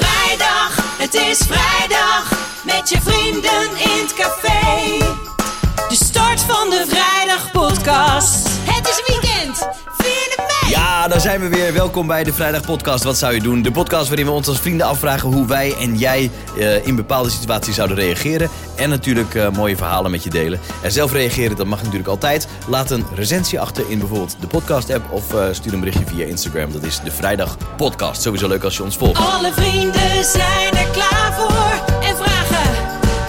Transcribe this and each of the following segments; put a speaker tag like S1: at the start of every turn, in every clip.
S1: vrijdag, het is vrijdag. Met je vrienden in het café. De start van de vrijdagpodcast. Het is weekend, 4 mei.
S2: Ja, daar zijn we weer. Welkom bij de Vrijdag Podcast. Wat zou je doen? De podcast waarin we ons als vrienden afvragen hoe wij en jij eh, in bepaalde situaties zouden reageren. En natuurlijk eh, mooie verhalen met je delen. En zelf reageren, dat mag natuurlijk altijd. Laat een recensie achter in bijvoorbeeld de podcast app of eh, stuur een berichtje via Instagram. Dat is de Vrijdag Podcast. Sowieso leuk als je ons volgt.
S1: Alle vrienden zijn er klaar voor. En vragen,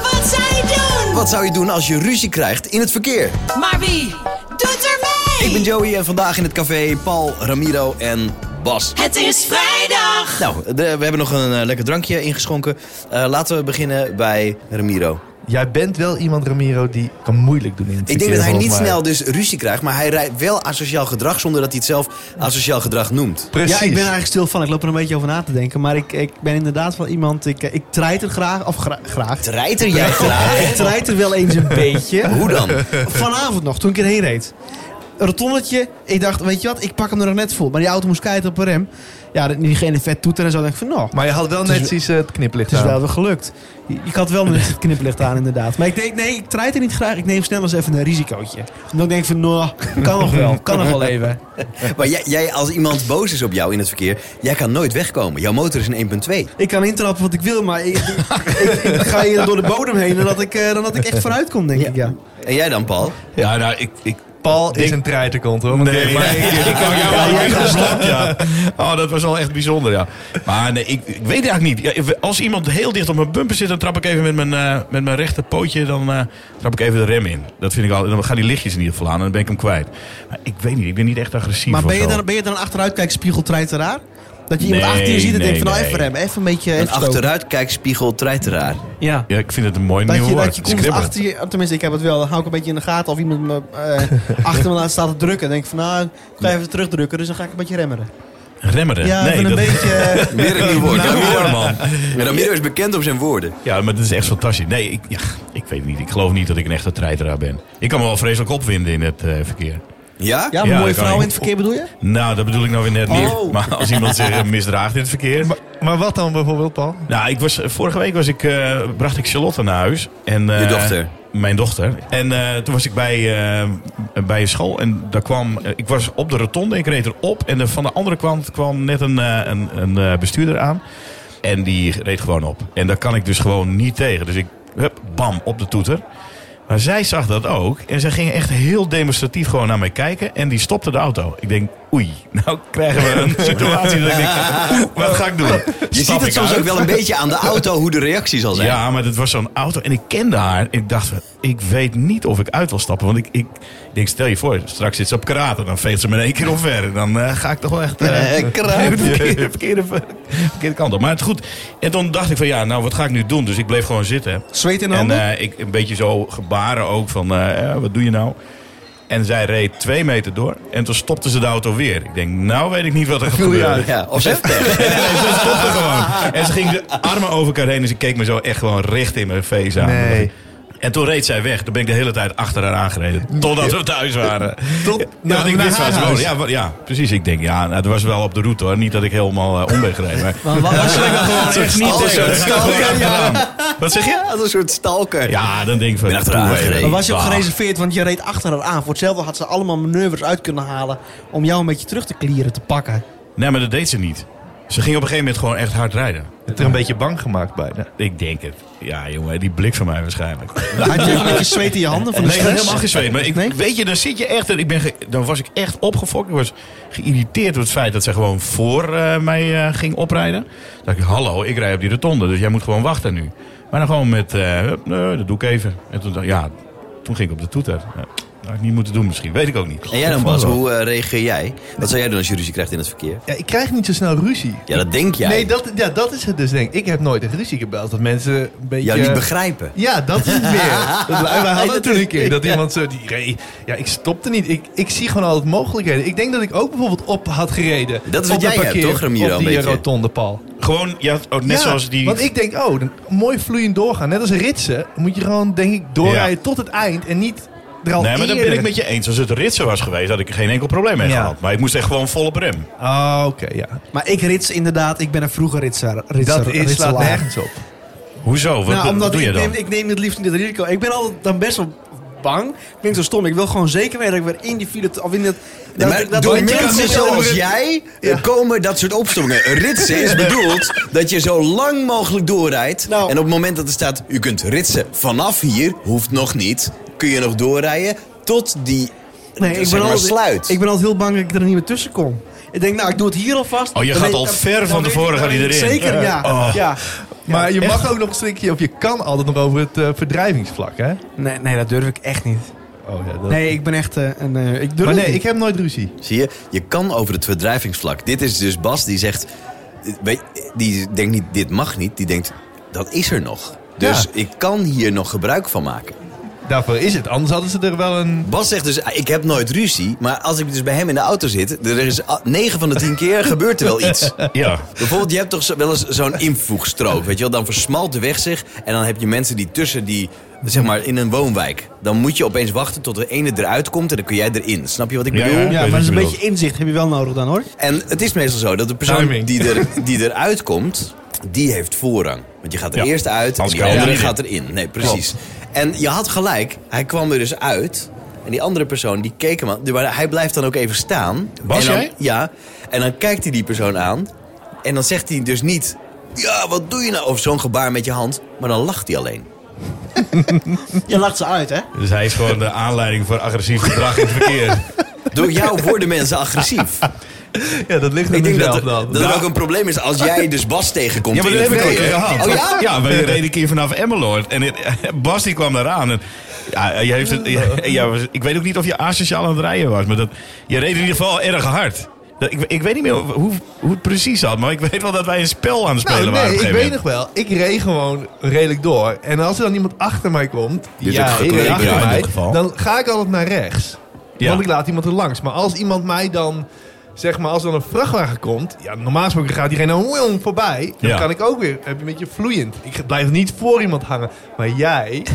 S1: wat zou je doen?
S2: Wat zou je doen als je ruzie krijgt in het verkeer?
S1: Maar wie doet er mee?
S2: Ik ben Joey en vandaag in het café Paul, Ramiro en Bas.
S1: Het is vrijdag.
S2: Nou, de- we hebben nog een eh, lekker drankje ingeschonken. Eh, laten we beginnen bij Ramiro.
S3: Jij bent wel iemand, Ramiro, die kan moeilijk doen in het
S2: Ik denk
S3: verkeer,
S2: dat hij
S3: volgens
S2: niet
S3: mij.
S2: snel dus ruzie krijgt, maar hij rijdt wel asociaal gedrag zonder dat hij het zelf asociaal gedrag noemt.
S3: Precies.
S4: Ja, ik ben er eigenlijk stil van. Ik loop er een beetje over na te denken. Maar ik, ik ben inderdaad wel iemand... Ik, eh, ik treiter graag... Of gra- graag.
S2: Rijdt er jij graag?
S4: Ik treiter wel eens een beetje.
S2: Hoe dan?
S4: Vanavond nog, toen ik erheen reed. Een rotondetje. Ik dacht, weet je wat? Ik pak hem er nog net vol. Maar die auto moest keihard op een rem. Ja, dat- diegene vet toeter en zo. Dan denk ik van, nou,
S3: Maar je had wel
S4: is-
S3: net iets eh, het kniplicht
S4: het is
S3: aan.
S4: wel weer gelukt. Je- Ik had wel met het kniplicht aan, inderdaad. Maar ik denk, nee, ik treiter niet graag. Ik neem snel eens even een risicootje. Omdat ik denk van, nou, kan nog wel. Kan nog wel even.
S2: Maar jij, jij, als iemand boos is op jou in het verkeer, jij kan nooit wegkomen. Jouw motor is een 1.2.
S4: Ik kan intrappen wat ik wil, maar ik, ik- ik ga hier door de bodem heen dan dat ik, eh, dan dat ik echt vooruit kom, denk ik. Ja.
S2: En jij dan, Paul?
S5: Ja, nou, ik... ik
S3: Paul is
S5: Denk-
S3: een treiterkont, hoor. Oké, maar ik-
S5: ik kan jou wel even een slap, ja. Oh, dat was wel echt bijzonder, ja. Maar nee, ik, ik weet eigenlijk niet. Ja, if- als iemand heel dicht op mijn bumper zit, dan trap ik even met mijn, eh, met mijn rechterpootje, dan eh, trap ik even de rem in. Dat vind ik al. Dan gaan die lichtjes in ieder geval aan en dan ben ik hem kwijt. Maar ik weet niet, ik ben niet echt agressief
S4: Maar
S5: of
S4: ben je,
S5: zo.
S4: dan, ben je dan een achteruitkijkspiegeltreiteraar? Dat je iemand
S5: Nee,
S4: achter je ziet en denkt van nou
S5: nee,
S4: even
S5: nee.
S4: remmen, even een beetje
S2: Een
S4: even stoken.
S2: achteruitkijkspiegel treiteraar.
S4: Ja.
S5: Ja, ik vind het een mooi
S4: Dat
S5: nieuw
S4: je,
S5: woord. Dus
S4: dat je
S5: Het is
S4: komt
S5: kribbig.
S4: achter je, oh, tenminste ik heb het wel, dan hou ik een beetje in de gaten of iemand me eh, achter me laat staan te drukken. Dan denk ik van nou, ik ga even terugdrukken, dus dan ga ik een beetje remmeren.
S5: Remmeren.
S4: Ja,
S5: nee,
S4: even een
S5: dat-
S4: beetje... eh,
S2: Weer een nieuw woord.
S5: Nou,
S2: Ramiro,
S5: man.
S2: Ramiro is bekend op zijn woorden.
S5: Ja, maar dat is echt fantastisch. Nee, ik, ja, ik weet niet. Ik geloof niet dat ik een echte treiteraar ben. Ik kan me wel vreselijk opwinden in het eh, verkeer.
S2: Ja?
S4: ja,
S5: Ja,
S4: een
S5: dat
S4: mooie
S5: kan
S4: vrouw in
S5: ik.
S4: het verkeer bedoel je?
S5: Nou, dat bedoel ik nou weer net niet.
S4: Oh.
S5: Maar als iemand zich eh, misdraagt in het verkeer.
S3: maar, maar wat dan bijvoorbeeld, Paul?
S5: Nou, ik was, vorige week was ik, eh, bracht ik Charlotte naar huis. En, eh,
S2: Je dochter.
S5: Mijn dochter. En eh, toen was ik bij, eh, bij een school en daar kwam... eh, ik was op de rotonde, ik reed erop. En er van de andere kant kwam net een, eh, een, een eh, bestuurder aan. En die reed gewoon op. En daar kan ik dus gewoon niet tegen. Dus ik, hup, bam, op de toeter. Maar zij zag dat ook. En zij ging echt heel demonstratief gewoon naar mij kijken. En die stopte de auto. Ik denk, oei, nou krijgen we een situatie dat ik denk, oeh, wat ga ik doen?
S2: Je ziet het soms ook wel een beetje aan de auto hoe de reactie zal zijn.
S5: Ja, maar het was zo'n auto. En ik kende haar. Ik dacht, ik weet niet of ik uit wil stappen. Want ik, ik, ik denk, stel je voor, straks zit ze op karate. Dan veegt ze me in één keer omver. En dan eh, ga ik toch wel echt... eh,
S2: Eh, kruid.
S5: de verkeerde, verkeerde, verkeerde kant op. Maar het goed. En toen dacht ik van, ja, nou, wat ga ik nu doen? Dus ik bleef gewoon zitten.
S4: Zweet in de
S5: En
S4: handen?
S5: eh, ik een beetje zo gebaren ook van, eh, eh, wat doe je nou? En zij reed twee meter door. En toen stopte ze de auto weer. Ik denk, nou weet ik niet wat er gaat gebeuren.
S2: Ja, of zeg tegen.
S5: Nee, nee, ze stopte gewoon. En ze ging de armen over elkaar heen. En ze keek me zo echt gewoon recht in mijn face aan.
S3: Nee.
S5: En toen reed zij weg. Toen ben ik de hele tijd achter haar aangereden. Totdat we thuis waren.
S3: Tot-
S5: Ja,
S3: nou,
S5: want ik
S3: naar
S5: wist waar
S3: haar
S5: ze
S3: huis.
S5: woonde. Ja, wa- ja, precies. Ik denk, ja, nou, het was wel op de route hoor. Niet dat ik helemaal eh, omweg reed. Maar
S4: Maar wat- nou
S5: Ja, ik dacht gewoon echt niet
S2: stalker,
S5: tegen.
S2: een stalker, ja.
S5: Wat zeg je?
S2: Als een soort stalker.
S5: Ja, dan denk ik van...
S2: Ben achter haar
S5: toe,
S2: aangereden.
S5: eh,
S4: Maar was je ook
S5: bah.
S4: gereserveerd, want je reed achter haar aan. Voor hetzelfde had ze allemaal manoeuvres uit kunnen halen om jou een beetje terug te klieren, te pakken.
S5: Nee, maar dat deed ze niet. Ze ging op een gegeven moment gewoon echt hard rijden.
S3: Je hebt er een beetje bang gemaakt Nou, bijna.
S5: Ik denk het. Ja, jongen, die blik van mij waarschijnlijk.
S4: Had je een beetje zweet in je handen van de
S5: Nee, ik ben
S4: stress?
S5: helemaal geen zweet. Maar ik,
S4: Nee?
S5: weet je, dan zit je echt... en Ik ben ge- dan was ik echt opgefokt. Ik was geïrriteerd door het feit dat zij gewoon voor eh, mij eh, ging oprijden. Dan dacht ik, hallo, ik rij op die rotonde. Dus jij moet gewoon wachten nu. Maar dan gewoon met, eh, hup, nee, dat doe ik even. En toen, dacht ik, ja, toen ging ik op de toeter. Ja, dat had ik niet moeten doen misschien. Weet ik ook niet.
S2: En jij dan Bas, hoe eh, reageer jij? Wat zou jij doen als je ruzie krijgt in het verkeer?
S3: Ja, ik krijg niet zo snel ruzie.
S2: Ja, dat denk jij.
S3: Nee, dat, ja, dat is het dus denk ik. Ik heb nooit een ruzie gebeld. Dat mensen een beetje...
S2: jou niet begrijpen.
S3: Ja, dat is het weer. Dat, wij hadden het toen een keer. Dat
S2: Ja.
S3: iemand zo... Die reed. Ja, ik stopte niet. Ik, ik zie gewoon altijd mogelijkheden. Ik denk dat ik ook bijvoorbeeld op had gereden.
S2: Dat is wat
S3: op het
S2: jij hebt,
S3: parkeer,
S2: toch, Ramiro,
S3: Op
S2: een
S3: die
S2: beetje?
S3: rotonde, Paul.
S5: Gewoon, ja, oh, net
S3: Ja,
S5: zoals die...
S3: Want ik denk, oh, dan mooi vloeiend doorgaan. Net als een ritsen moet je gewoon, denk ik, doorrijden tot het eind. En niet
S6: er al
S5: Nee, maar dat ben
S6: eerder-
S5: ik met je eens. Als het ritsen was geweest, had ik er geen enkel probleem mee
S3: Ja.
S5: gehad. Maar ik moest echt gewoon vol op rem.
S3: Oh, oké, ja.
S6: Maar ik rits inderdaad, ik ben een vroege ritser. ritser
S3: Dat is, slaat
S6: ritselaar.
S3: nergens op.
S5: Hoezo? Wat,
S6: Nou,
S5: wat
S6: omdat
S5: doe
S6: ik,
S5: je dan?
S6: neem, ik neem het liefst niet dat risico. Ik ben altijd dan best wel bang. Klinkt zo stom. Ik wil gewoon zeker weten dat ik weer in die file... te- Of in het,
S2: Nee,
S6: dat,
S2: maar
S6: ik- dat
S2: door
S6: ik-
S2: mensen
S6: dat ik-
S2: zoals jij eh, komen dat soort opstommingen. Een Ritsen is bedoeld dat je zo lang mogelijk doorrijdt.
S6: Nou.
S2: En op het moment dat er staat, u kunt ritsen vanaf hier, hoeft nog niet. Kun je nog doorrijden tot die
S6: Nee, ik
S2: zeg
S6: ben,
S2: maar,
S6: altijd,
S2: sluit.
S6: ik ben altijd heel bang dat ik er niet meer tussen kom. Ik denk, nou, ik doe het hier alvast.
S5: Oh, je
S6: Dan
S5: gaat
S6: weet-
S5: al
S6: dan-
S5: ver
S6: dan
S5: van
S6: weet
S5: tevoren
S6: ik- dan
S5: gaat
S6: weet ik
S5: iedereen.
S6: Zeker, ja.
S5: Oh.
S6: ja.
S3: Maar je mag ook nog een stukje, of je kan altijd nog over het eh, verdrijvingsvlak, hè?
S6: Nee, nee, dat durf ik echt niet.
S3: Oh, ja, dat...
S6: Nee, ik ben echt eh, een... eh, ik durf
S3: Maar nee,
S6: het
S3: ik
S6: niet.
S3: heb nooit ruzie.
S2: Zie je, je kan over het verdrijvingsvlak. Dit is dus Bas die zegt, eh, weet- die denkt niet, dit mag niet. Die denkt, dat is er nog. Dus
S3: Ja.
S2: ik kan hier nog gebruik van maken.
S3: Daarvoor is het. Anders hadden ze er wel een...
S2: Bas zegt dus, ah, ik heb nooit ruzie. Maar als ik dus bij hem in de auto zit, er is ah, 9 van de 10 keer gebeurt er wel iets.
S5: Ja.
S2: Bijvoorbeeld, je hebt toch zo- wel eens zo'n invoegstrook, weet je wel? Dan versmalt de weg zich en dan heb je mensen die tussen die, zeg maar, in een woonwijk. Dan moet je opeens wachten tot de ene eruit komt en dan kun jij erin. Snap je wat ik
S5: Ja,
S2: bedoel?
S5: ja.
S6: Ja,
S5: weet
S6: maar dat
S5: wat
S6: is een
S5: je
S6: beetje inzicht heb je wel nodig dan, hoor.
S2: En het is meestal zo dat de persoon
S3: Timing.
S2: die, er, die eruit komt, die heeft voorrang. Want je gaat er
S5: Ja.
S2: eerst uit en
S5: Anders
S2: die
S5: kan je
S2: andere
S5: erin.
S2: gaat erin. Nee, precies. En je had gelijk, hij kwam er dus uit. En die andere persoon, die keek hem aan. Maar hij blijft dan ook even staan.
S5: Was
S2: en dan,
S5: jij?
S2: Ja. En dan kijkt hij die persoon aan. En dan zegt hij dus niet... Ja, wat doe je nou? Of zo'n gebaar met je hand. Maar dan lacht hij alleen.
S6: Je lacht ze uit, hè?
S5: Dus hij is gewoon de aanleiding voor agressief gedrag in het verkeer.
S2: Door jou worden mensen agressief.
S3: Ja, dat ligt
S2: Ik
S3: aan
S2: denk dat
S3: mezelf
S2: er,
S3: dan.
S2: dat er ook een probleem is als jij dus Bas tegenkomt.
S5: Ja, maar
S2: in
S5: dat
S2: het
S5: heb ik ook
S2: verkeer.
S5: gehad.
S2: Oh ja?
S5: Ja, wij reden een keer vanaf Emmeloord. En het- Bas die kwam daaraan. En, ja, je heeft het, ja, ja, was- ik weet ook niet of je asociaal aan het rijden was. Maar dat, je reed in ieder geval erg hard. Dat- ik, ik weet niet meer hoe, hoe het precies zat. Maar ik weet wel dat wij een spel aan het spelen
S3: Nou,
S5: waren.
S3: nee,
S5: op een
S3: ik
S5: gegeven
S3: weet nog wel. Ik reed gewoon redelijk door. En als er dan iemand achter mij komt,
S2: Dit
S3: ja,
S2: is ook
S3: ik reed
S2: gekleed,
S3: achter
S2: ja, in
S3: mij,
S5: dit geval.
S3: dan ga ik altijd naar rechts.
S5: Ja.
S3: Want ik laat iemand er langs. Maar als iemand mij dan, zeg maar, als er dan een vrachtwagen komt, ja, normaal gesproken gaat diegene dan woeong voorbij. Dan
S5: Ja.
S3: kan ik ook weer heb je een beetje vloeiend. Ik blijf niet voor iemand hangen. Maar jij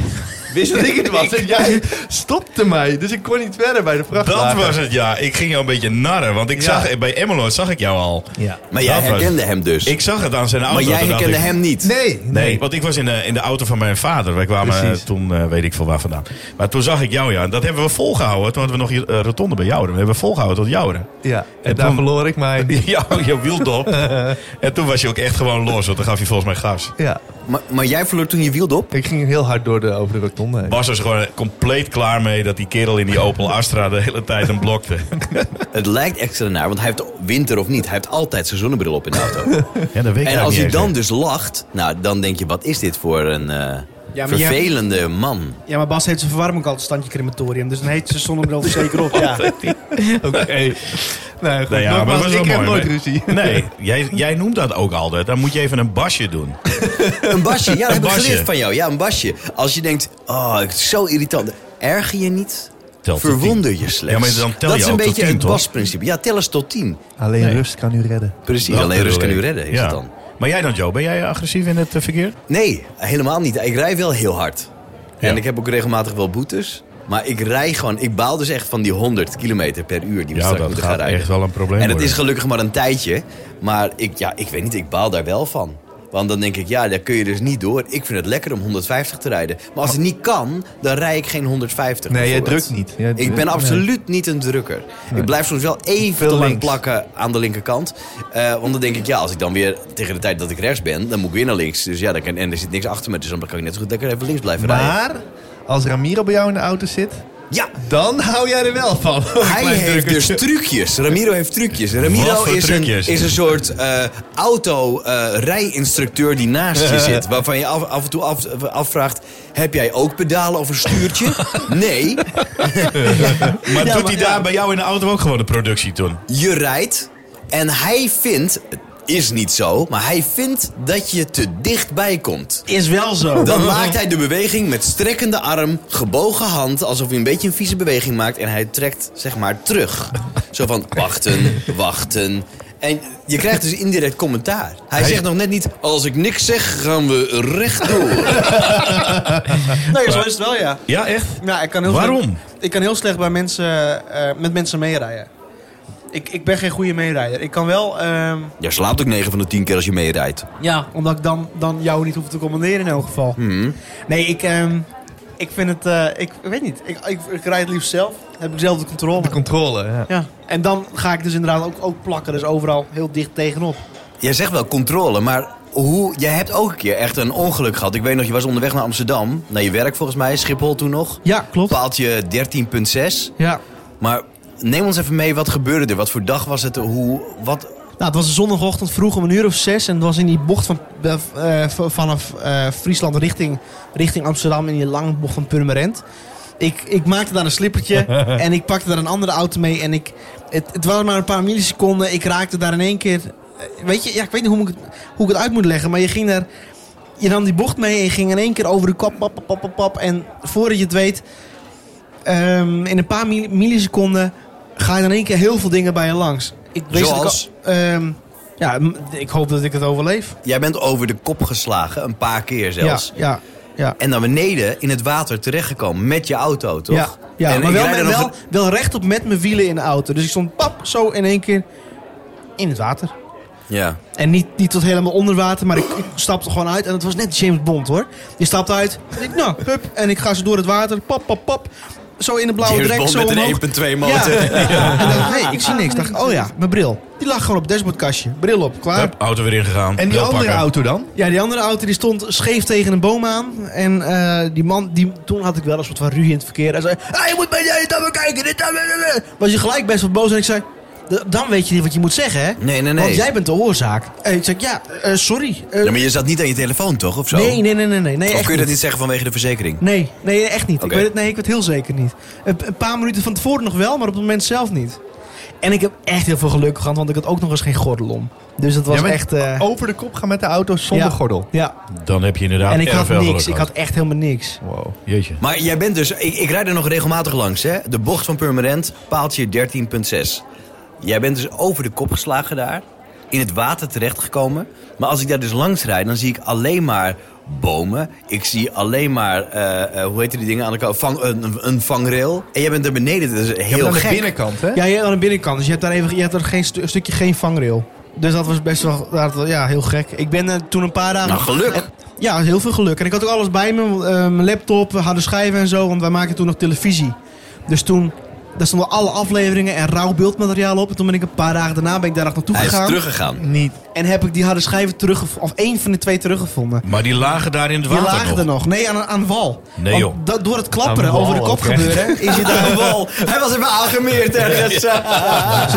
S3: wist dat ik het was en jij stopte mij. Dus ik kon niet verder bij de
S5: Dat
S3: vrachtwagen.
S5: was het, ja. Ik ging jou een beetje narren. Want ik
S3: Ja.
S5: zag, bij Emmeloord zag ik jou al.
S3: Ja.
S2: Maar jij
S5: Dat was-
S2: herkende hem dus.
S5: Ik zag het aan zijn auto.
S2: maar jij
S5: toen dacht
S2: herkende
S5: ik-
S2: hem niet.
S3: Nee, nee.
S5: Nee, want ik was in de, in de auto van mijn vader. Wij kwamen eh,
S3: Precies.
S5: toen, eh, weet ik veel waar vandaan. Maar toen zag ik jou, ja. En dat hebben we volgehouden. Toen hadden we nog hier, eh, rotonde bij Jouren. We hebben volgehouden tot Jouren.
S3: Ja, en,
S5: En
S3: daar
S5: toen-
S3: verloor ik mijn...
S5: Ja, je wieldop. en toen was je ook echt gewoon los. Want dan gaf je volgens mij gas.
S3: Ja,
S2: Maar, maar jij verloor toen je wiel op?
S3: ik ging heel hard door de, over de rotonde heen.
S5: Bas was gewoon compleet klaar mee dat die kerel in die Opel Astra de hele tijd hem blokte.
S2: Het lijkt extra naar, want hij heeft winter of niet. Hij heeft altijd zijn zonnebril op in de auto.
S5: Ja, dat weet ik
S2: en als
S5: niet
S2: hij
S5: eens
S2: dan
S5: meer.
S2: dus lacht, nou, dan denk je, wat is dit voor een eh,
S6: Ja, maar jij-
S2: vervelende man?
S6: Ja, maar Bas heeft zijn verwarming altijd standje crematorium. Dus dan heet ze zonnebril er zeker op, ja.
S3: Oké. Nee, goed.
S5: Nee, Nou ja, maar
S3: Nogmaals,
S5: dat was wel
S3: ik
S5: mooi.
S3: heb nooit
S5: maar-
S3: ruzie.
S5: Nee, jij, jij noemt dat ook altijd. Dan moet je even een basje doen.
S2: Een basje, ja, dat heb ik
S5: basje.
S2: geleerd van jou. Ja, een basje. Als je denkt, oh, het is zo irritant. Erger je niet,
S5: Telt tot
S2: verwonder
S5: tien.
S2: je slechts.
S5: Ja, maar dan tel
S2: dat
S5: je
S2: is een
S5: ook tot
S2: beetje
S5: tien,
S2: het
S5: toch?
S2: basprincipe. Ja, tel eens tot tien.
S3: Alleen rust kan u redden.
S2: Precies,
S5: Dat
S2: alleen rust kan u
S5: bedoel ik.
S2: redden, is
S5: Ja.
S2: het dan.
S5: Maar jij dan, Joe? Ben jij agressief in het eh, verkeer?
S2: Nee, helemaal niet. Ik rij wel heel hard.
S5: Ja.
S2: En ik heb ook regelmatig wel boetes. Maar ik rij gewoon, ik baal dus echt van die 100 kilometer per uur die we straks moeten gaan rijden.
S5: wel een probleem
S2: En het is
S5: worden.
S2: gelukkig maar een tijdje. Maar ik, ja, ik weet niet, ik baal daar wel van. Want dan denk ik, ja, daar kun je dus niet door. Ik vind het lekker om 150 te rijden. Maar als het niet kan, dan rij ik geen 150.
S3: Nee, jij
S2: bijvoorbeeld.
S3: drukt niet. Jij
S2: ik
S3: drukt-
S2: ben
S3: nee.
S2: absoluut niet een drukker. Ik blijf soms wel even
S3: Veel
S2: te lang
S3: links.
S2: plakken aan de linkerkant. Eh, want dan denk ik, ja, als ik dan weer tegen de tijd dat ik rechts ben, dan moet ik weer naar links. Dus ja, dan kan, en er zit niks achter me. Dus dan kan ik net zo goed lekker even links blijven rijden.
S3: Maar als Ramiro bij jou in de auto zit,
S2: Ja,
S3: dan hou jij er wel van.
S2: Hij
S3: Klein
S2: heeft dus
S3: drukkertje.
S2: trucjes. Ramiro heeft trucjes. Ramiro
S5: Wat voor
S2: is
S5: trucjes?
S2: een, is een soort eh, auto-rijinstructeur die naast je zit. Waarvan je af, af en toe af, afvraagt: heb jij ook pedalen of een stuurtje? Nee,
S5: Maar
S6: Ja, maar-
S5: doet hij daar bij jou in de auto ook gewoon de productie toen?
S2: je rijdt. En hij vindt, het is niet zo, maar hij vindt dat je te dichtbij komt.
S6: Is wel zo.
S2: Dan maakt hij de beweging met strekkende arm, gebogen hand, alsof hij een beetje een vieze beweging maakt. En hij trekt, zeg maar, terug. Zo van wachten, wachten. En je krijgt dus indirect commentaar. Hij zegt nog net niet, als ik niks zeg, gaan we rechtdoor.
S4: Nee, zo is het wel, ja.
S5: Ja, echt?
S4: ja ik kan heel
S5: Waarom?
S4: slecht- ik kan heel slecht bij mensen, eh, met mensen meerijden. Ik, ik ben geen goede meerijder. Ik kan wel... ehm,
S2: Jij slaapt ook 9 van de 10 keer als je meerijdt.
S4: Ja, omdat ik dan, dan jou niet hoef te commanderen in elk geval. Nee, ik, ehm, ik vind het... eh, ik, ik weet niet. Ik, ik, ik rijd het liefst zelf. Dan heb ik zelf de controle.
S3: De controle, ja.
S4: Ja. En dan ga ik dus inderdaad ook, ook plakken. Dus overal heel dicht tegenop.
S2: Jij zegt wel controle, maar hoe, jij hebt ook een keer echt een ongeluk gehad. Ik weet nog, je was onderweg naar Amsterdam, naar je werk volgens mij, Schiphol toen nog.
S4: Ja, klopt.
S2: Paaltje 13.6.
S4: Ja.
S2: Maar neem ons even mee, wat gebeurde er? Wat voor dag was het? Hoe, wat,
S4: Nou, het was een zondagochtend vroeg om een uur of zes. En het was in die bocht van, eh, v- vanaf eh, Friesland richting, richting Amsterdam. In die lange bocht van Purmerend. Ik, ik maakte daar een slippertje. en ik pakte daar een andere auto mee. En ik, het, het waren maar een paar milliseconden. Ik raakte daar in één keer... eh, Weet je, ja, ik weet niet hoe ik, het- hoe ik het uit moet leggen. Maar je ging daar... Je nam die bocht mee en je ging in één keer over de kop. Pap, pap, pap, pap, pap. en voordat je het weet... ehm, in een paar mil- milliseconden ga je in één keer heel veel dingen bij je langs. Ik weet dat ik
S2: Zoals?
S4: al- Ehm, ja, m- ik hoop dat ik het overleef.
S2: jij bent over de kop geslagen, een paar keer zelfs.
S4: Ja, ja, ja.
S2: En naar beneden in het water terechtgekomen met je auto, toch?
S4: Ja, ja
S2: En
S4: maar
S2: ik
S4: wel,
S2: rijd er
S4: met-
S2: nog-
S4: wel, wel rechtop met mijn wielen in de auto. Dus ik stond pap zo in één keer in het water.
S2: Ja.
S4: En niet, niet tot helemaal onder water, maar ik, ik stapte gewoon uit. En het was net James Bond hoor. Je stapt uit, en ik, nou, hup, en ik ga zo door het water, pap, pap, pap. Zo in de blauwe
S2: James
S4: drek,
S2: Bond
S4: zo
S2: met
S4: omhoog.
S2: een 1.2
S4: Ja.
S2: motor.
S4: En dacht, nee, ik zie niks. Dacht, oh ja, mijn bril. Die lag gewoon op het dashboardkastje. Bril op, klaar.
S5: Hup, auto weer ingegaan.
S3: En die
S5: Wil
S3: andere
S5: pakken.
S3: auto dan?
S4: Ja, die andere auto die stond scheef tegen een boom aan. En eh, die man, die, toen had ik wel een soort van ruzie in het verkeer. Hij zei, hey, je moet bij deze tappen kijken. Dit, dat, dat, dat." was je gelijk best wel boos. En ik zei, "D- dan weet je niet wat je moet zeggen, hè?
S2: Nee, nee, nee.
S4: Want jij bent de oorzaak. En ik zei, ja, eh, sorry. Eh,
S2: Ja, maar je zat niet aan je telefoon, toch? Of zo?
S4: nee, nee, nee, nee, nee. nee
S2: Of kun
S4: echt
S2: je dat
S4: niet.
S2: niet zeggen vanwege de verzekering?
S4: Nee, nee, echt niet.
S2: Oké.
S4: Ik weet het, nee, ik weet het heel zeker niet. Eh, Een, een paar minuten van tevoren nog wel, maar op het moment zelf niet. En ik heb echt heel veel geluk gehad, want ik had ook nog eens geen gordel om. Dus dat was
S3: Jij bent
S4: echt... eh,
S3: Over de kop gaan met de auto zonder
S4: ja,
S3: gordel. Nou,
S4: Ja,
S5: Dan heb je inderdaad
S4: en ik
S5: erg
S4: had
S5: veel
S4: niks.
S5: geluk
S4: Ik had echt helemaal niks.
S5: gehad. Wow. Jeetje.
S2: Maar jij bent dus, ik, ik rijd er nog regelmatig langs, hè? De bocht van Purmerend, paaltje 13.6. Jij bent dus over de kop geslagen daar, in het water terechtgekomen. Maar als ik daar dus langs rijd, dan zie ik alleen maar bomen. Ik zie alleen maar, eh, eh, hoe heet die dingen aan de kant? Vang, een, een- een vangrail. En jij bent er beneden, dat is
S3: Heel
S2: heel
S3: aan de
S2: gek.
S3: binnenkant, hè?
S4: Ja, je hebt aan de binnenkant. Dus je hebt daar, even, je hebt daar geen stu- stukje geen vangrail. Dus dat was best wel dat was- ja, heel gek. Ik ben eh, toen een paar dagen...
S2: Nou, geluk.
S4: Ja, heel veel geluk. En ik had ook alles bij me. eh, mijn laptop, harde schijven en zo. Want wij maakten toen nog televisie. Dus toen... Daar stonden alle afleveringen en rauw beeldmateriaal op. En toen ben ik een paar dagen daarna ben ik daar echt naartoe
S2: Hij is
S4: gegaan.
S2: teruggegaan.
S3: Niet.
S4: En heb ik die harde schijven teruggevonden. Of één van de twee teruggevonden.
S5: Maar die lagen daar in het
S4: Die
S5: water
S4: lagen
S5: nog.
S4: er nog. Nee, aan, aan wal.
S5: Nee,
S4: Want
S5: joh.
S4: dat- door het klapperen
S3: Aan wal
S4: over de kop
S3: ook, hè?
S4: gebeuren is je daar
S2: Aan wal. Hij was even aangemeerd ergens.
S4: Ze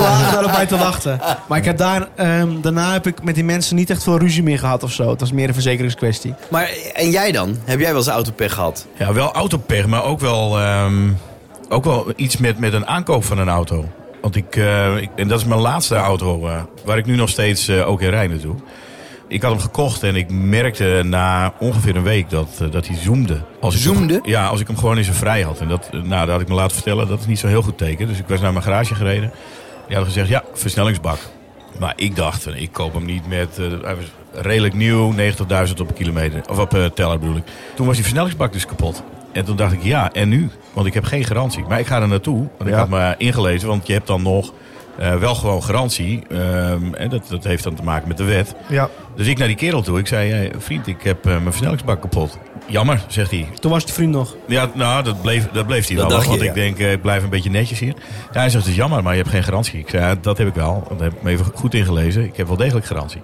S4: lagen daarop bij te wachten. Maar ik heb daar, ehm, daarna heb ik met die mensen niet echt veel ruzie meer gehad of zo. Het was meer een verzekeringskwestie.
S2: Maar, en jij dan? Heb jij wel eens autopech gehad?
S5: Ja, wel autopech, maar ook wel, ehm, ook wel iets met, met een aankoop van een auto. Want ik, eh, ik- en dat is mijn laatste auto, eh, waar ik nu nog steeds eh, ook in rij naartoe. Ik had hem gekocht en ik merkte na ongeveer een week dat, eh, dat hij zoomde. Als ik hem-
S2: Zoomde?
S5: ja, als ik hem gewoon in zijn vrij had. En dat, eh, nou, dat had ik me laten vertellen, dat is niet zo'n heel goed teken. Dus ik was naar mijn garage gereden. Die hadden gezegd, ja, versnellingsbak. Maar ik dacht, van, ik koop hem niet met... eh, hij was redelijk nieuw, 90.000 op een kilometer. Of op eh, teller bedoel ik. Toen was die versnellingsbak dus kapot. En toen dacht ik, ja, en nu? Want ik heb geen garantie. Maar ik ga er naartoe, want ik
S3: Ja.
S5: had me ingelezen. Want je hebt dan nog eh, wel gewoon garantie. Ehm, en dat, dat heeft dan te maken met de wet.
S3: Ja.
S5: Dus ik naar die kerel toe. Ik zei, hey, vriend, ik heb eh, mijn versnellingsbak kapot. Jammer, zegt hij.
S4: Toen was de vriend nog.
S5: Ja, nou, dat bleef, dat bleef hij
S2: Dat
S5: wel.
S2: dacht
S5: want
S2: je,
S5: ik
S2: ja.
S5: denk, eh, ik blijf een beetje netjes hier. Ja, hij zegt, het is jammer, maar je hebt geen garantie. Ik zei, ja, dat heb ik wel. Dat heb ik me even goed ingelezen. Ik heb wel degelijk garantie.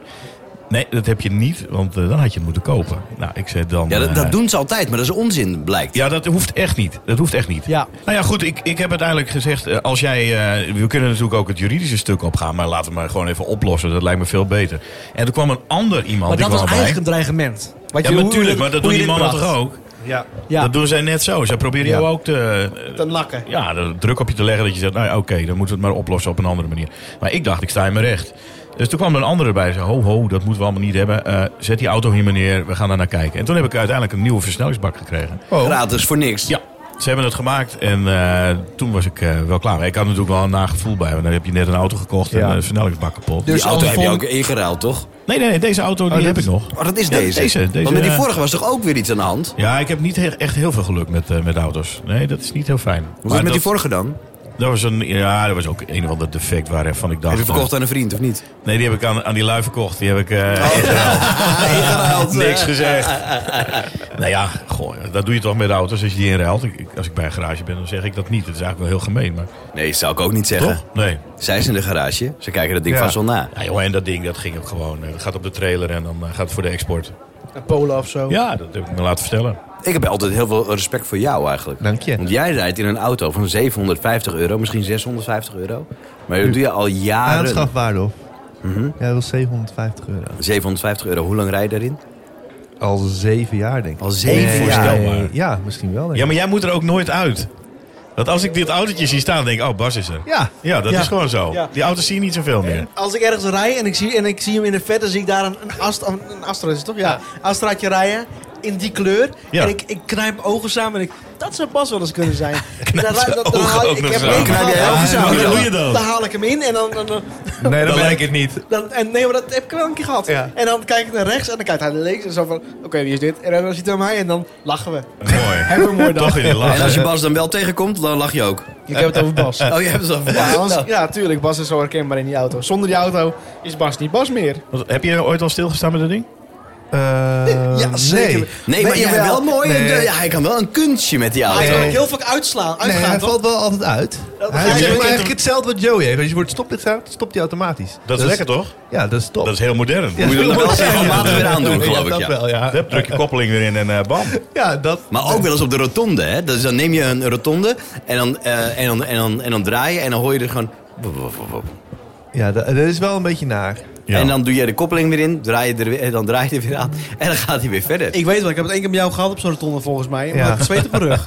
S5: Nee, dat heb je niet, want eh, dan had je het moeten kopen. Nou, ik zei dan...
S2: Ja, dat,
S5: eh,
S2: dat doen ze altijd, maar dat is onzin, blijkt.
S5: ja, dat hoeft echt niet. Dat hoeft echt niet.
S4: Ja.
S5: Nou ja, goed, ik, ik heb uiteindelijk gezegd, eh, als jij, eh, we kunnen natuurlijk ook het juridische stuk opgaan, maar laten we maar gewoon even oplossen. Dat lijkt me veel beter. En er kwam een ander iemand.
S4: Maar
S5: die
S4: dat was
S5: kwam erbij.
S4: eigenlijk een dreigement. Wat
S5: Ja,
S4: je-
S5: maar
S4: hoe-
S5: natuurlijk,
S4: hoe-
S5: maar dat
S4: hoe
S5: doen
S4: je
S5: die
S4: dit
S5: mannen
S4: bracht.
S5: toch ook?
S3: Ja.
S4: Ja,
S5: Dat doen zij net zo. Zij proberen jou ook te,
S4: te nakken.
S5: ja, de druk op je te leggen dat je zegt, nou ja, oké, dan moeten we het maar oplossen op een andere manier. Maar ik dacht, ik sta in mijn recht. Dus toen kwam er een andere bij en zei, ho, ho, dat moeten we allemaal niet hebben. Eh, zet
S2: Oh.
S5: die auto hier maar neer, we gaan daar naar kijken. En toen heb ik uiteindelijk een nieuwe versnellingsbak gekregen.
S2: Gratis, voor niks.
S5: Ja, Ze hebben het gemaakt en eh, toen was ik eh, wel klaar. Maar Ik had natuurlijk wel een nagevoel bij, want dan heb je net een auto gekocht en
S3: Ja.
S5: een versnellingsbak kapot.
S2: Die
S4: Dus
S2: auto
S4: als
S2: heb je ook
S4: volgende-
S2: ingeruild, toch?
S5: Nee, nee, nee, deze auto die
S4: dat
S5: heb ik
S4: is-
S5: nog.
S2: Maar Oh, dat is
S5: Ja,
S2: deze.
S5: deze, deze,
S2: Want met die
S5: ja.
S2: vorige was toch ook weer iets aan de hand? Hoe
S5: Ja, ik heb niet he- echt heel veel geluk met, eh, met auto's. Nee, dat is niet heel fijn.
S2: was het
S5: Maar
S2: met die
S5: dat,
S2: vorige dan?
S5: dat was een, ja, dat was ook een of ander defect waarvan ik dacht...
S2: Heb je verkocht aan een vriend of niet?
S5: eh, Nee, die heb ik aan, aan die lui verkocht. Die heb ik... eh,
S2: Ingeruild.
S5: Niks gezegd. nou ja, goh, dat doe je toch met auto's als je die inruilt. Ik- ik- Als ik bij een garage ben, dan zeg ik dat niet. Dat is eigenlijk wel heel gemeen, maar
S2: Nee, zou ik ook niet zeggen.
S5: toch? Nee.
S2: Zij is in de garage. Ze kijken dat ding
S3: Ja.
S2: vast wel na.
S5: Ja, joh, en dat ding, dat ging ook gewoon. eh, Dat gaat op de trailer en dan eh, gaat het voor de export.
S4: Polen of zo.
S5: Ja, dat heb ik me laten vertellen.
S2: Ik heb altijd heel veel respect voor jou eigenlijk.
S3: Dank je.
S2: Want jij rijdt in een auto van 750 euro, misschien 650 euro. Maar dat doe je al jaren.
S3: Aanschafwaarde op.
S2: Ah, Mhm.
S3: Ja, dat was 750 euro.
S2: 750 euro, hoe lang rij je daarin?
S3: Al zeven jaar, denk ik.
S2: Al zeven
S3: Nee,
S2: jaar.
S3: Ja,
S5: Onvoorstelbaar.
S3: ja, misschien wel. Denk ik.
S5: Ja, maar jij moet er ook nooit uit. Want als ik dit autootje zie staan, denk ik, oh, Bas is er.
S3: Ja.
S5: Ja, dat
S4: Ja.
S5: is gewoon zo.
S4: Ja.
S5: Die auto's zie je niet zoveel meer.
S4: Als ik ergens rij en ik zie, en ik zie hem in de verte, zie ik daar een, een, Astra, een Astra is het toch? Ja, Astraatje rijden in die kleur.
S5: Ja.
S4: En ik, ik knijp mijn ogen samen en ik, dat zou pas wel eens kunnen zijn. Knijp
S5: zijn ogen ook
S4: ik
S5: nog
S4: heb
S5: samen.
S4: één keer
S2: Knijp jij
S4: mijn
S2: ogen
S4: ogen
S2: samen?
S4: samen.
S2: Hoe doe
S5: je dat?
S4: Dan haal ik hem in en dan... dan, dan,
S3: Nee, dat
S5: Dan
S3: ben
S5: lijkt
S3: ik.
S5: het niet.
S4: dan- en nee, maar dat heb ik wel een keer gehad.
S3: Ja.
S4: En dan kijk ik naar rechts en dan kijkt hij naar links en zo van, oké, wie is dit? En dan ziet hij mij en dan lachen we.
S5: Mooi.
S4: Hebben we mooi
S5: Toch
S4: dag.
S5: in die
S2: En als
S5: lach.
S2: je Bas dan wel tegenkomt, dan lach je ook.
S4: Ik heb het over Bas.
S2: Oh, je hebt het al
S4: Ja,
S2: verbaasd.
S4: want-
S2: Nou,
S4: ja, tuurlijk, Bas is zo herkenbaar in die auto. Zonder die auto is Bas niet Bas meer.
S5: Want Heb je ooit al stilgestaan met dat ding?
S3: Eh,
S4: Ja, zeker.
S3: Nee.
S2: Nee, maar
S4: Nee,
S2: je hebt
S4: jawel.
S2: wel mooi.
S3: Nee.
S2: Ja, hij kan wel een kunstje met die auto.
S4: Hij kan
S3: Nee.
S4: ook heel vaak uitslaan,
S3: Nee,
S4: uitgaan,
S3: hij
S4: toch?
S3: valt wel altijd uit. hij
S4: Dat begrijp
S3: heeft
S5: ik.
S3: eigenlijk hetzelfde wat Joey heeft. Als je wordt stoplicht aan, stopt hij automatisch. Dus-
S5: Dat is lekker, toch?
S3: Ja, dat is top.
S5: Dat is heel modern.
S3: Ja,
S5: Moet je dat wel
S3: ja,
S5: zeggen?
S2: regelmatig weer aandoen,
S3: Ja,
S2: geloof ik,
S3: Dat
S2: ja.
S3: wel, ja.
S5: Hup, Druk je koppeling weer in en eh, bam.
S3: Ja, dat.
S2: Maar ook wel eens op de rotonde, hè? Dus dan neem je een rotonde en dan, eh, en dan, en dan, en dan draai je en dan hoor je er gewoon...
S3: Ja, dat, dat is wel een beetje naar.
S5: Ja.
S2: En dan doe je de koppeling weer in, draai je er weer, en dan draai je er weer aan en dan gaat hij weer verder.
S4: Ik weet wel, ik heb het één keer met jou gehad op zo'n rotonde volgens mij. Maar
S3: Ja.
S4: het zweet op mijn rug.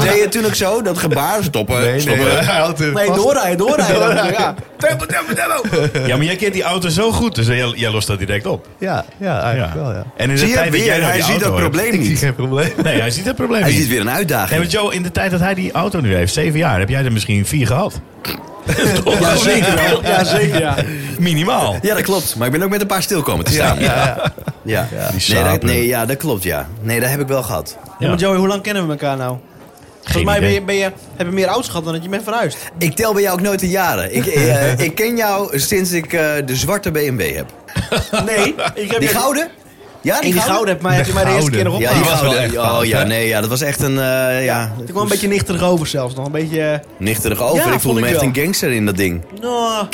S2: Deed je toen ook zo, dat gebaar? Stoppen, stoppen.
S3: hij houdt er
S4: Nee,
S3: vast.
S4: doorrijden, doorrijden. Ja.
S2: Tempo, tempo, tempo.
S5: Ja, maar jij kent die auto zo goed, dus jij, jij lost dat direct op.
S3: Ja, ja, eigenlijk
S5: Ja.
S3: wel, ja.
S5: En in de
S2: Zie je
S5: tijd dat jij
S2: weer,
S5: nog
S2: hij
S5: die
S2: ziet
S5: auto
S2: dat
S5: hebt-
S2: probleem
S3: Ik zie
S2: niet.
S3: geen probleem.
S5: Nee, hij ziet het probleem
S2: Hij
S5: niet.
S2: ziet weer een
S5: Nee,
S2: uitdaging.
S5: maar Joe, in de tijd dat hij die auto nu heeft, zeven jaar, heb jij er misschien vier gehad. Toch?
S4: Ja, zeker wel. Ja, zeker ja.
S5: Minimaal.
S2: Ja, dat klopt. Maar ik ben ook met een paar stil komen te staan. Ja, Nee, dat,
S5: sapen.
S2: nee, ja, dat klopt, ja. Nee, dat heb ik wel gehad.
S4: Ja, maar Joey, hoe lang kennen we elkaar nou? Volgens mij ben
S5: idee.
S4: je, ben je, heb je meer ouds gehad dan dat je bent verhuisd.
S2: Ik tel bij jou ook nooit de jaren. Ik, eh, ik ken jou sinds ik eh, de zwarte BMW heb.
S4: Nee, Nou, ik heb
S2: Die gouden? Ja,
S4: En die gouden heb mij, heb je mij de eerste keer nog
S2: Ja, die
S4: opgehaald.
S2: gouden. oh ja, nee, ja, dat was echt een eh, ja,
S4: ik kwam een beetje nichterig over zelfs nog. Een beetje... eh,
S2: nichterig over.
S4: Ja,
S2: ik
S4: vond
S2: voelde me
S4: ik
S2: echt
S4: wel.
S2: een gangster in dat ding.
S4: nou,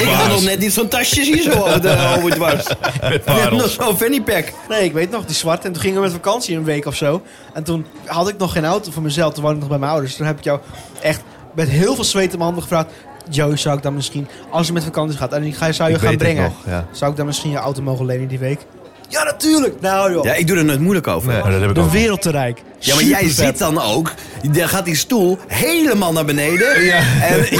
S2: Ik had nog net niet zo'n tasje hier zo over de over dwars.
S5: Met
S2: Net nog
S5: parels.
S2: zo'n fanny pack.
S4: Nee, ik weet nog, die zwart. En toen gingen we met vakantie een week of zo. En toen had ik nog geen auto voor mezelf. Toen woonde ik nog bij mijn ouders. Toen heb ik jou echt met heel veel zweet in mijn handen gevraagd. Joey, zou ik dan misschien, als je met vakantie gaat en ik ga, zou je
S3: Ik
S4: gaan
S3: weet het
S4: brengen.
S3: nog, ja.
S4: Zou ik dan misschien je auto mogen lenen die week? Ja, natuurlijk. Nou joh,
S2: Ja, ik doe er nooit moeilijk over.
S3: Nee.
S5: Maar Oh, dat heb ik
S4: de
S5: ook.
S4: wereld te rijk.
S2: Ja, maar jij
S4: Supervet.
S2: zit dan ook, dan gaat die stoel helemaal naar beneden. En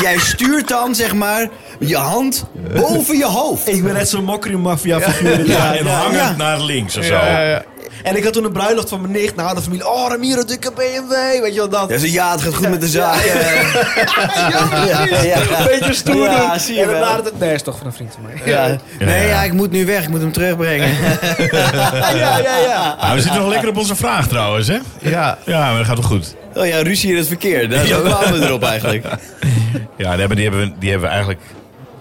S2: jij stuurt dan, zeg maar, je hand boven je hoofd.
S4: Ik ben net zo'n mokkerie maffia figuur.
S5: Ja, en hangend naar links of zo.
S4: En ik had toen een bruiloft van mijn nicht. Nou, de familie, oh Ramiro, dikke BMW. Weet je wat dat?
S2: Ja, zo, ja, het gaat goed met de zaak. eh.
S4: Ja, precies.
S2: ja.
S4: Een beetje stoer
S2: Ja,
S4: doen.
S2: zie je
S4: en dan
S2: wel.
S4: waren het, nee, is toch van een vriend van mij.
S2: Ja. Nee,
S5: Ja.
S2: ja, ik moet nu weg, ik moet hem terugbrengen.
S4: ja, ja. ja.
S5: Ah, we zitten nog lekker op onze vraag trouwens, hè?
S3: Ja,
S5: Ja, maar dat gaat wel goed.
S2: Oh ja, ruzie in het verkeer, daar zo kwamen we erop eigenlijk.
S5: Ja, die hebben, die hebben, we- die hebben we eigenlijk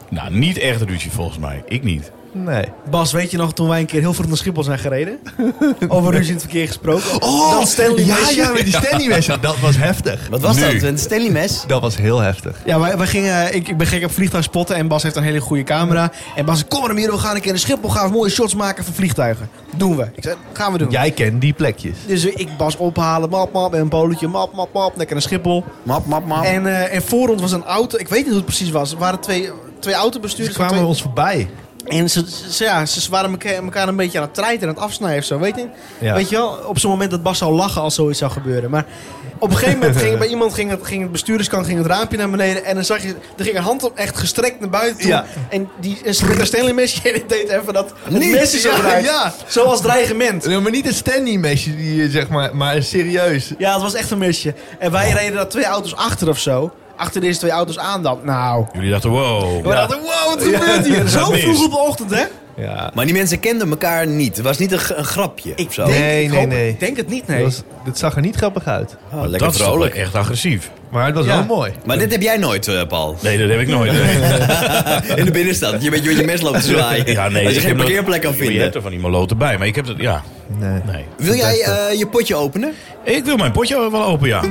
S5: nou, niet echt ruzie volgens mij. Ik niet.
S3: nee.
S4: Bas, weet je nog toen wij een keer heel vroeg naar Schiphol zijn gereden? Over ruzie in het verkeer gesproken.
S3: Oh,
S4: Stanley
S3: ja,
S4: Messi.
S3: ja, met die Stanley Messi. Dat was heftig.
S2: Wat was
S5: Nu.
S2: dat, een Stanley mes?
S3: Dat was heel heftig.
S4: Ja, wij, wij gingen, eh, ik, ik ben gek op vliegtuigspotten en Bas heeft een hele goede camera. En Bas zei, kom maar Ramiro, we gaan een keer naar Schiphol, gaan we mooie shots maken van vliegtuigen. Doen we. Ik zei, gaan we doen.
S3: Jij kent die plekjes.
S4: Dus ik Bas ophalen, map, map, en een poletje, map, map, map, lekker naar Schiphol.
S2: Map, map, map.
S4: En, eh, en voor ons was een auto, ik weet niet hoe het precies was, er waren twee, twee
S3: Ze
S4: autobestuurders. van
S3: kwamen
S4: twee-
S3: ons voorbij.
S4: En ze, ze- ja, ze waren elkaar, elkaar een beetje aan het treiten en aan het afsnijden of zo. Weet je,
S3: Ja.
S4: weet je wel, op zo'n moment dat Bas zou lachen als zoiets zou gebeuren. Maar op een gegeven moment ging bij iemand ging het, ging het bestuurderskant ging het raampje naar beneden. En dan zag je, er ging een hand op echt gestrekt naar buiten toe.
S3: Ja.
S4: En die en met een Stanley mesje en het deed even dat het
S3: Niet,
S4: mesje zo
S3: ja,
S4: draait.
S3: ja.
S4: Zoals dreigement.
S3: Nee, maar niet een Stanley mesje die eh, zeg maar, maar serieus.
S4: Ja, het was echt een mesje. En wij reden daar twee auto's achter of zo. Achter deze twee auto's aan dan. Nou.
S5: Jullie dachten, wow.
S4: We dachten, wow, wat gebeurt hier? Zo
S5: Mis.
S4: vroeg op de ochtend, hè?
S3: Ja.
S2: Maar die mensen kenden elkaar niet. Het was niet een, g- een grapje. of zo.
S3: denk- Nee, nee, nee.
S4: Ik denk het niet,
S3: Dat
S4: nee.
S3: was, dit zag er niet grappig uit.
S2: Oh, lekker
S5: Dat is toch wel
S2: vrolijk.
S5: echt agressief.
S3: Maar het was
S4: Ja.
S3: wel mooi.
S2: Maar dit heb jij nooit, eh, Paul.
S5: Nee, dat heb ik nooit. nee.
S2: In de binnenstad. Je bent je met je mes loopt te zwaaien.
S5: Ja, nee.
S2: Als je
S5: ik
S2: geen
S5: heb dat-
S2: parkeerplek kan
S5: Je
S2: vinden.
S5: hebt er van die maloten bij, maar ik heb dat, ja.
S3: Nee.
S5: Nee.
S2: Wil jij eh, je potje openen?
S5: Ik wil mijn potje wel open, ja.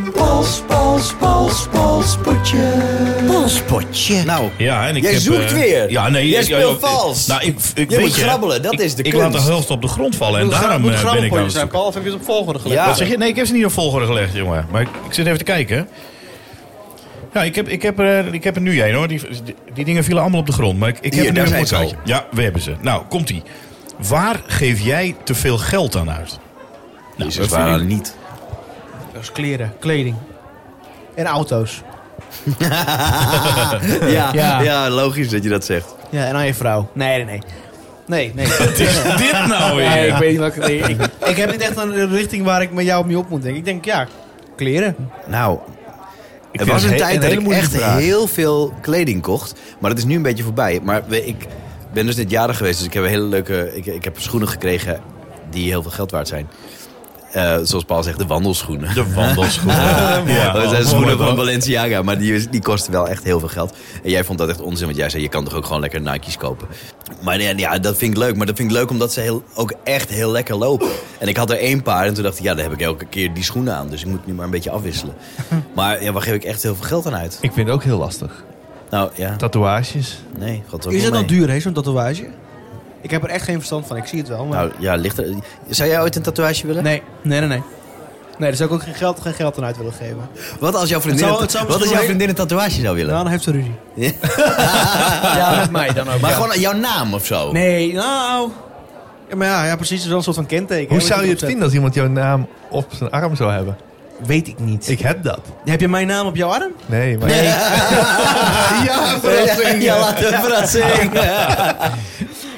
S2: Polspotje. Nou,
S5: Ja, en ik
S2: Jij
S5: heb,
S2: zoekt
S5: eh,
S2: weer.
S5: Ja, nee,
S2: Jij
S5: ik-
S2: speelt
S5: ik-
S2: vals.
S5: Nou, ik, ik
S2: Je
S5: weet
S2: moet
S5: je,
S2: grabbelen, dat
S5: ik-
S2: is de
S5: Ik laat de
S2: kunst.
S5: helft op de grond vallen en
S4: Moet gra-
S5: daarom
S4: moet
S5: eh, ben ik aan
S4: grabbelpotjes
S5: het
S4: zijn,
S5: zoeken.
S4: Paul, of heb je ze op volgorde gelegd?
S2: nou- Ja.
S5: Wat zeg je? Nee, ik heb ze niet op volgorde gelegd, jongen. Maar ik, ik zit even te kijken. Ja, ik heb, ik heb, er, eh, ik heb er nu één hoor. Die, die, die dingen vielen allemaal op de grond. Maar ik, ik
S2: Hier,
S5: heb er nu
S2: daar zijn
S5: een
S2: ze
S5: plaatje. Ja, we hebben ze. Nou, komt ie. Waar geef jij te veel geld aan uit? Nou,
S2: Jezus,
S5: dat vind ik-
S2: waren niet.
S4: Dat is kleren, kleding. En auto's.
S2: ja, ja.
S4: Ah, Ja.
S2: logisch dat je dat zegt.
S4: Ja, en aan je vrouw. Nee, nee, nee. Nee, nee. nee,
S5: Wat is dit nou weer?
S4: nee, ik weet niet welke... nee, ik, ik heb niet echt een richting waar ik met jou op mee op moet denken. Ik denk, ja, kleren.
S2: Nou, er
S3: vind
S2: was
S3: het
S2: een
S3: he-
S2: tijd
S3: een
S2: dat ik
S3: hele
S2: echt
S3: moeilijke vraag.
S2: heel veel kleding kocht. Maar dat is nu een beetje voorbij. Maar we- ik ben dus net jarig geweest, dus ik heb een hele leuke... Ik, ik heb schoenen gekregen die heel veel geld waard zijn. Eh, zoals Paul zegt, de wandelschoenen.
S5: De wandelschoenen. ja,
S2: dat
S5: mooi,
S2: Oh, zijn schoenen
S5: hoor.
S2: van Balenciaga, maar die, die kosten wel echt heel veel geld. En jij vond dat echt onzin, want jij zei, je kan toch ook gewoon lekker Nike's kopen. Maar ja, ja, dat vind ik leuk. Maar dat vind ik leuk omdat ze heel, ook echt heel lekker lopen. En ik had er één paar en toen dacht ik, ja, daar heb ik elke keer die schoenen aan. Dus ik moet nu maar een beetje afwisselen. Maar ja, waar geef ik echt heel veel geld aan uit?
S3: Ik vind het ook heel lastig.
S2: Nou ja,
S3: Tatoeages.
S2: nee, god
S4: Is dat nou duur, hè, zo'n tatoeage? Ik heb er echt geen verstand van. Ik zie het wel, maar...
S2: Nou ja, ligt er... Zou jij ooit een tatoeage willen?
S4: Nee, nee, nee, nee. Nee, daar zou ik ook geen geld, geen geld aan uit willen geven.
S2: Wat als jouw vriendin,
S4: Het zou- het zou
S2: wat als jouw
S4: misschien
S2: vriendin een tatoeage zou willen?
S4: Nou, Dan heeft ze ruzie.
S2: Ja.
S4: ja, met mij dan ook.
S2: maar
S4: ja.
S2: gewoon jouw naam of zo?
S4: Nee, nou... Ja, maar ja, ja, precies. Dat is wel een soort van kenteken.
S3: Hoe
S4: hè,
S3: zou
S4: wat
S3: je het
S4: erop
S3: vinden als iemand jouw naam op zijn arm zou hebben?
S4: zet. Weet ik niet.
S3: Ik heb dat.
S4: Heb je mijn naam op jouw arm?
S3: Nee, maar... ja, verrassing.
S2: Ja, laten we verrassing.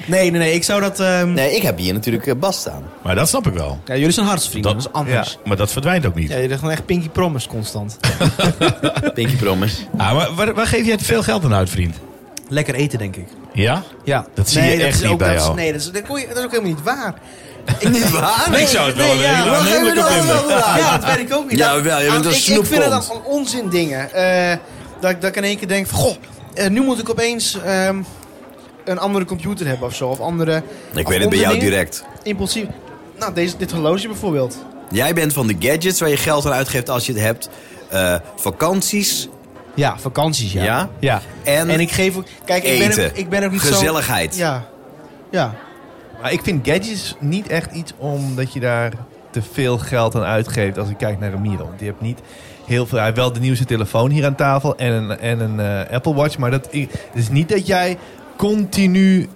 S4: Nee, nee, nee. Ik zou dat... ehm,
S2: Nee, ik heb hier natuurlijk eh, Bas staan.
S5: Maar dat snap ik wel.
S4: Ja, jullie zijn hartsvrienden. Dat,
S5: Dat-
S4: is anders. Ja.
S5: Maar dat verdwijnt ook niet.
S4: jullie zijn gewoon echt Pinky Promise constant.
S2: Pinky Promise.
S5: Ah, maar waar, waar geef jij te veel geld aan uit, vriend?
S4: Lekker eten, denk ik.
S5: Ja?
S4: Ja.
S5: Dat zie je echt
S4: is
S5: niet
S4: ook,
S5: bij
S4: dat is-
S5: jou.
S4: nee, dat is, dat, kon je- dat is ook helemaal niet waar.
S2: Niet waar?
S5: ik zou het wel
S4: nee,
S5: willen.
S4: ja,
S5: Ik wil
S4: maar
S5: een
S2: geef me
S5: moeilijke
S2: dat
S5: vinden.
S2: wel. Ja.
S4: Ja, dat weet ik ook niet.
S2: Ja,
S4: Dat-
S2: wel, je bent
S4: aan-
S2: een
S4: ik, ik vind het
S2: snoephond.
S4: dan van onzin dingen. Eh, dat, ik- dat ik in één keer denk van... Goh, eh, nu moet ik opeens ehm, een andere computer hebben of zo. Of andere...
S2: Ik weet het bij jou direct.
S4: Impulsief. Nou, deze, dit horloge bijvoorbeeld.
S2: Jij bent van de gadgets waar je geld aan uitgeeft als je het hebt. Eh, vakanties.
S4: Ja, vakanties,
S2: Ja.
S3: Ja.
S2: En,
S4: En ik geef ook... Kijk, ik ben
S2: Eten.
S4: ook, ik ben ook niet zo...
S2: gezelligheid.
S4: Ja. Ja.
S3: Maar ik vind gadgets niet echt iets omdat je daar te veel geld aan uitgeeft als ik kijk naar Ramiro. Want die heeft niet heel veel. Hij heeft wel de nieuwste telefoon hier aan tafel en een, en een eh, Apple Watch. Maar dat i- het is niet dat jij continu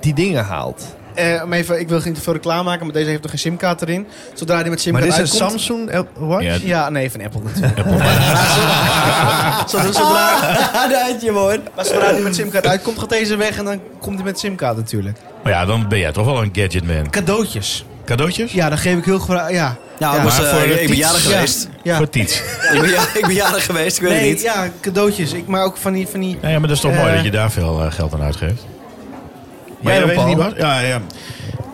S3: die dingen haalt.
S4: Eh, om even, ik wil geen te veel reclame maken, maar deze heeft nog geen simkaart erin. Zodra die met
S3: maar
S4: simkaart
S3: dit is een
S4: uitkomt...
S3: Samsung Apple Watch.
S5: Ja.
S4: Ja, nee, van Apple natuurlijk. Maar zodra- Ah. zodra, zodra,
S2: Ah, Daar had je hem, hoor.
S4: maar zodra die met simkaart uitkomt, gaat deze weg en dan komt die met simkaart natuurlijk.
S5: Maar ja, dan ben jij toch wel een gadgetman.
S4: Cadeautjes.
S5: Cadeautjes?
S4: Ja, dan geef ik heel graag... Ja.
S2: Nou,
S4: ja.
S2: was,
S5: Maar
S2: eh,
S5: voor de
S2: ik ben
S5: fiets,
S2: jarig
S5: ja.
S2: geweest.
S4: ja.
S5: Voor tiets.
S2: Ik, ben, ja- ik ben jarig geweest, ik weet
S4: Nee,
S2: het niet.
S4: ja, cadeautjes. Ik, maar ook van die... Van die
S5: Nou ja, maar dat is toch
S4: Eh.
S5: mooi dat je daar veel eh, geld aan uitgeeft. Maar
S3: Jij dan,
S5: jij weet het niet
S3: Paul?
S5: wat? Ja, ja.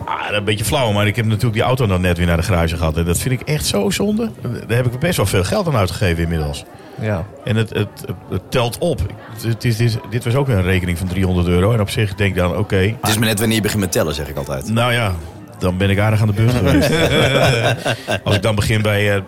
S5: Ah, dat is een beetje flauw, maar ik heb natuurlijk die auto dan net weer naar de garage gehad. En dat vind ik echt zo zonde. Daar heb ik best wel veel geld aan uitgegeven inmiddels.
S3: Ja.
S5: En het, het, het, het telt op. Het, het is, dit, dit was ook weer een rekening van 300 euro. En op zich denk ik dan, oké.
S2: Het is maar net wanneer je begint met tellen, zeg ik altijd.
S5: Nou ja, dan ben ik aardig aan de beurt geweest. Als ik dan begin bij... eh,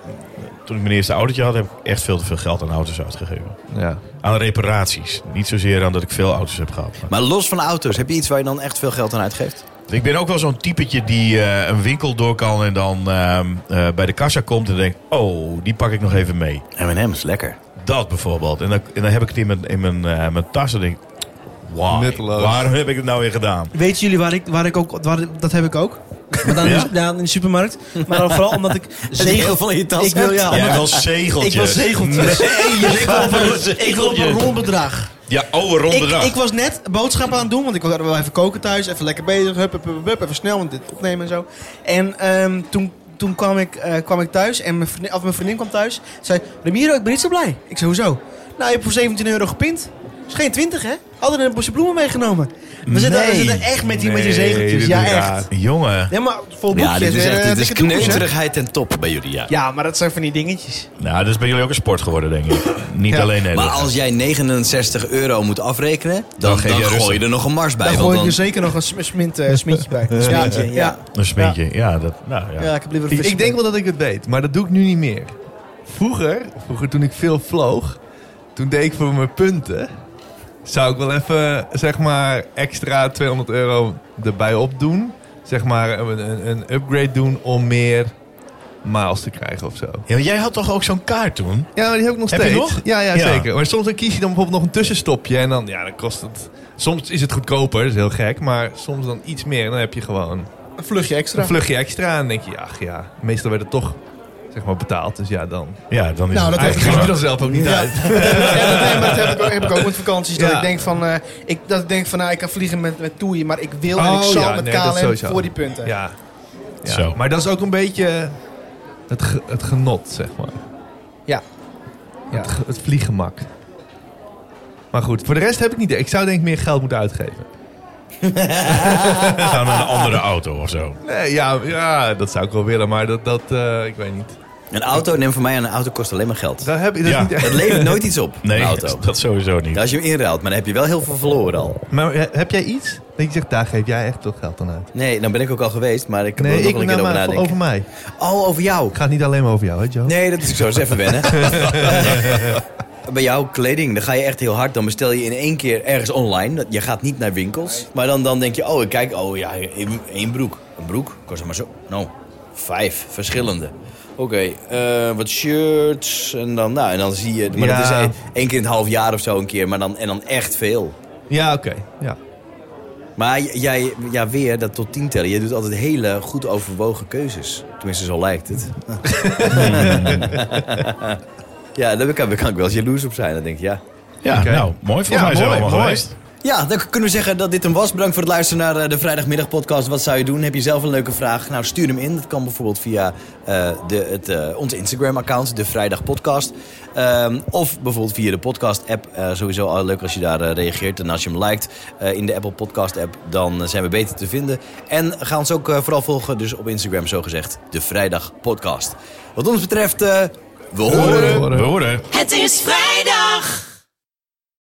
S5: toen ik mijn eerste autootje had, heb ik echt veel te veel geld aan auto's uitgegeven.
S3: ja.
S5: Aan reparaties. Niet zozeer aan dat ik veel auto's heb gehad. maar-
S2: Maar los van auto's, heb je iets waar je dan echt veel geld aan uitgeeft?
S5: Ik ben ook wel zo'n typetje die eh, een winkel door kan en dan ehm, eh, bij de kassa komt en denkt: Oh, die pak ik nog even mee.
S2: M&M's, lekker.
S5: Dat bijvoorbeeld. En dan, en dan heb ik het in mijn, in mijn, eh, mijn tas en denk: why?
S3: Nutteloos.
S5: Waarom heb ik het nou weer gedaan?
S4: Weten jullie waar ik, waar ik ook... Waar, dat heb ik ook. Maar dan,
S5: Ja?
S4: in, de, ja, in de supermarkt. Maar dan vooral omdat ik zegel...
S2: zegel van in je tas
S4: Ik wil,
S2: hebt.
S4: ja,
S5: Jij
S4: omdat-
S5: wil zegeltjes.
S4: ik wil zegeltjes. ik wil op een- ik wil op een
S5: Zegeltjes.
S4: rond bedrag.
S5: Ja, oh, oude rond
S4: Ik,
S5: bedrag.
S4: ik was net boodschappen aan het doen, want ik was wel even koken thuis. Even lekker bezig, hup, hup, hup, hup, even snel, want dit opnemen en zo. En ehm, toen, toen kwam, ik, eh, kwam ik thuis en mijn vriendin, of mijn vriendin kwam thuis. Zei, Ramiro, ik ben niet zo blij. Ik zei, hoezo? Nou, je hebt voor 17 euro gepint. is geen 20, hè? Hadden er een bosje bloemen meegenomen. We zitten, we
S5: Nee.
S4: zitten echt met die, met die
S5: Nee,
S4: zegeltjes.
S5: dit
S4: Ja,
S5: is raar.
S4: echt.
S5: Jongen.
S4: Ja, maar vol boekjes.
S2: Ja, dit is
S4: hè,
S2: echt dit is
S4: dikke doekjes, hè?
S2: kneuterigheid ten top bij jullie, ja.
S4: Ja, maar dat zijn van die dingetjes.
S5: Nou, dat is bij jullie ook een sport geworden, denk ik. Niet
S4: Ja.
S5: alleen Nederland.
S2: Maar als jij 69 euro moet afrekenen, dan,
S5: Dan
S2: dan,
S5: geef je rustig.
S2: gooi je er nog een mars bij.
S4: Daar
S2: want
S4: gooi ik
S2: dan,
S4: je zeker nog een sm- smint, eh, smintje bij. Ja, ja.
S5: Een smintje. Ja, dat, nou ja.
S4: Ja, ik heb liever een
S3: Ik,
S4: frisse
S3: ik denk wel dat ik het weet, maar dat doe ik nu niet meer. Vroeger, vroeger toen ik veel vloog, toen deed ik voor mijn punten. Zou ik wel even, zeg maar, extra 200 euro erbij opdoen. Zeg maar, een, een, een upgrade doen om meer miles te krijgen of zo.
S5: Ja, maar jij had toch ook zo'n kaart toen?
S3: Ja, maar die heb ik nog
S5: Heb
S3: steeds.
S5: je nog?
S3: Ja, ja,
S5: Ja.
S3: zeker. Maar soms dan kies je dan bijvoorbeeld nog een tussenstopje en dan, ja, dan kost het... Soms is het goedkoper, dat is heel gek, maar soms dan iets meer en dan heb je gewoon
S4: Een vluchtje extra.
S3: een vluchtje extra. En dan denk je, ach ja, meestal werd het toch, zeg maar, betaald. Dus ja, dan...
S5: Ja, dan is
S4: Nou,
S5: het
S4: dat
S5: eigenlijk
S3: Eigenlijk ging
S5: gewoon-
S3: je dan zelf ook niet
S4: Ja.
S3: uit.
S4: Ja, dat, nee, maar dat heb ik ook, heb ik ook met vakanties. Dat
S3: Ja.
S4: ik denk van, eh, ik, dat ik denk van nou, ik kan vliegen met, met Toei, maar ik wil en
S3: Oh,
S4: ik zal
S3: ja,
S4: met
S3: nee, dat
S4: KLM
S3: sowieso.
S4: voor die punten.
S3: Ja. Ja.
S5: Zo.
S3: Maar dat is ook een beetje het, ge- het genot, zeg maar.
S4: Ja.
S3: Het, ge- het vlieggemak. Maar goed, voor de rest heb ik niet. Ik zou denk ik meer geld moeten uitgeven.
S5: gaan naar een andere auto of zo.
S3: Nee, ja, ja dat zou ik wel willen, maar dat, dat eh, ik weet niet.
S2: een auto, neem voor mij aan, een auto kost alleen maar geld.
S3: Daar heb ik dat
S5: Ja.
S3: is niet echt.
S2: Het levert nooit iets op,
S5: Nee,
S2: een auto.
S5: dat sowieso niet.
S2: Ja, Als je hem inruilt, maar dan heb je wel heel veel verloren al.
S3: Maar he- heb jij iets dat je zegt, daar geef jij echt veel geld aan uit?
S2: Nee, dan ben ik ook al geweest, maar ik kan er nog
S3: ik
S2: wel een
S3: nou
S2: keer over
S3: maar
S2: nadenken.
S3: over mij.
S2: Oh, over jou.
S3: Het gaat niet alleen maar over jou, hè Joe?
S2: Nee, dat is zo. Dat is even wennen. Bij jouw kleding, dan ga je echt heel hard. Dan bestel je in één keer ergens online. Dat- Je gaat niet naar winkels. Maar dan, dan denk je, oh, ik kijk, oh ja, één- één broek. Een broek kost maar zo. Nou, vijf verschillende. Oké, eh, wat shirts. En dan, nou, en dan zie je. Maar dat is
S3: Ja.
S2: één, één keer in het half jaar of zo een keer. Maar dan, en dan echt veel.
S3: Ja, oké. Ja.
S2: Maar j- jij, ja, weer dat tot tien tellen. Je doet altijd hele goed overwogen keuzes. Tenminste, zo lijkt het. ja, daar kan, daar kan ik wel eens jaloers op zijn. Dan denk ik, ja.
S5: Ja,
S3: Oké.
S5: nou, mooi. Volgens
S3: Ja,
S5: mij zijn we
S3: mooi,
S5: allemaal
S3: mooi.
S5: geweest.
S2: Ja, dan kunnen we zeggen dat dit hem was. Bedankt voor het luisteren naar eh, de vrijdagmiddag podcast. Wat zou je doen? Heb je zelf een leuke vraag? Nou, stuur hem in. Dat kan bijvoorbeeld via eh, de, het, eh, onze Instagram-account, de Vrijdag Podcast. Ehm, of bijvoorbeeld via de podcast-app. Eh, sowieso al leuk als je daar eh, reageert. En als je hem liked eh, in de Apple Podcast-app, dan eh, zijn we beter te vinden. En ga ons ook eh, vooral volgen, dus op Instagram zogezegd, de Vrijdag Podcast. Wat ons betreft, eh, we horen.
S5: We horen.
S1: Het is vrijdag.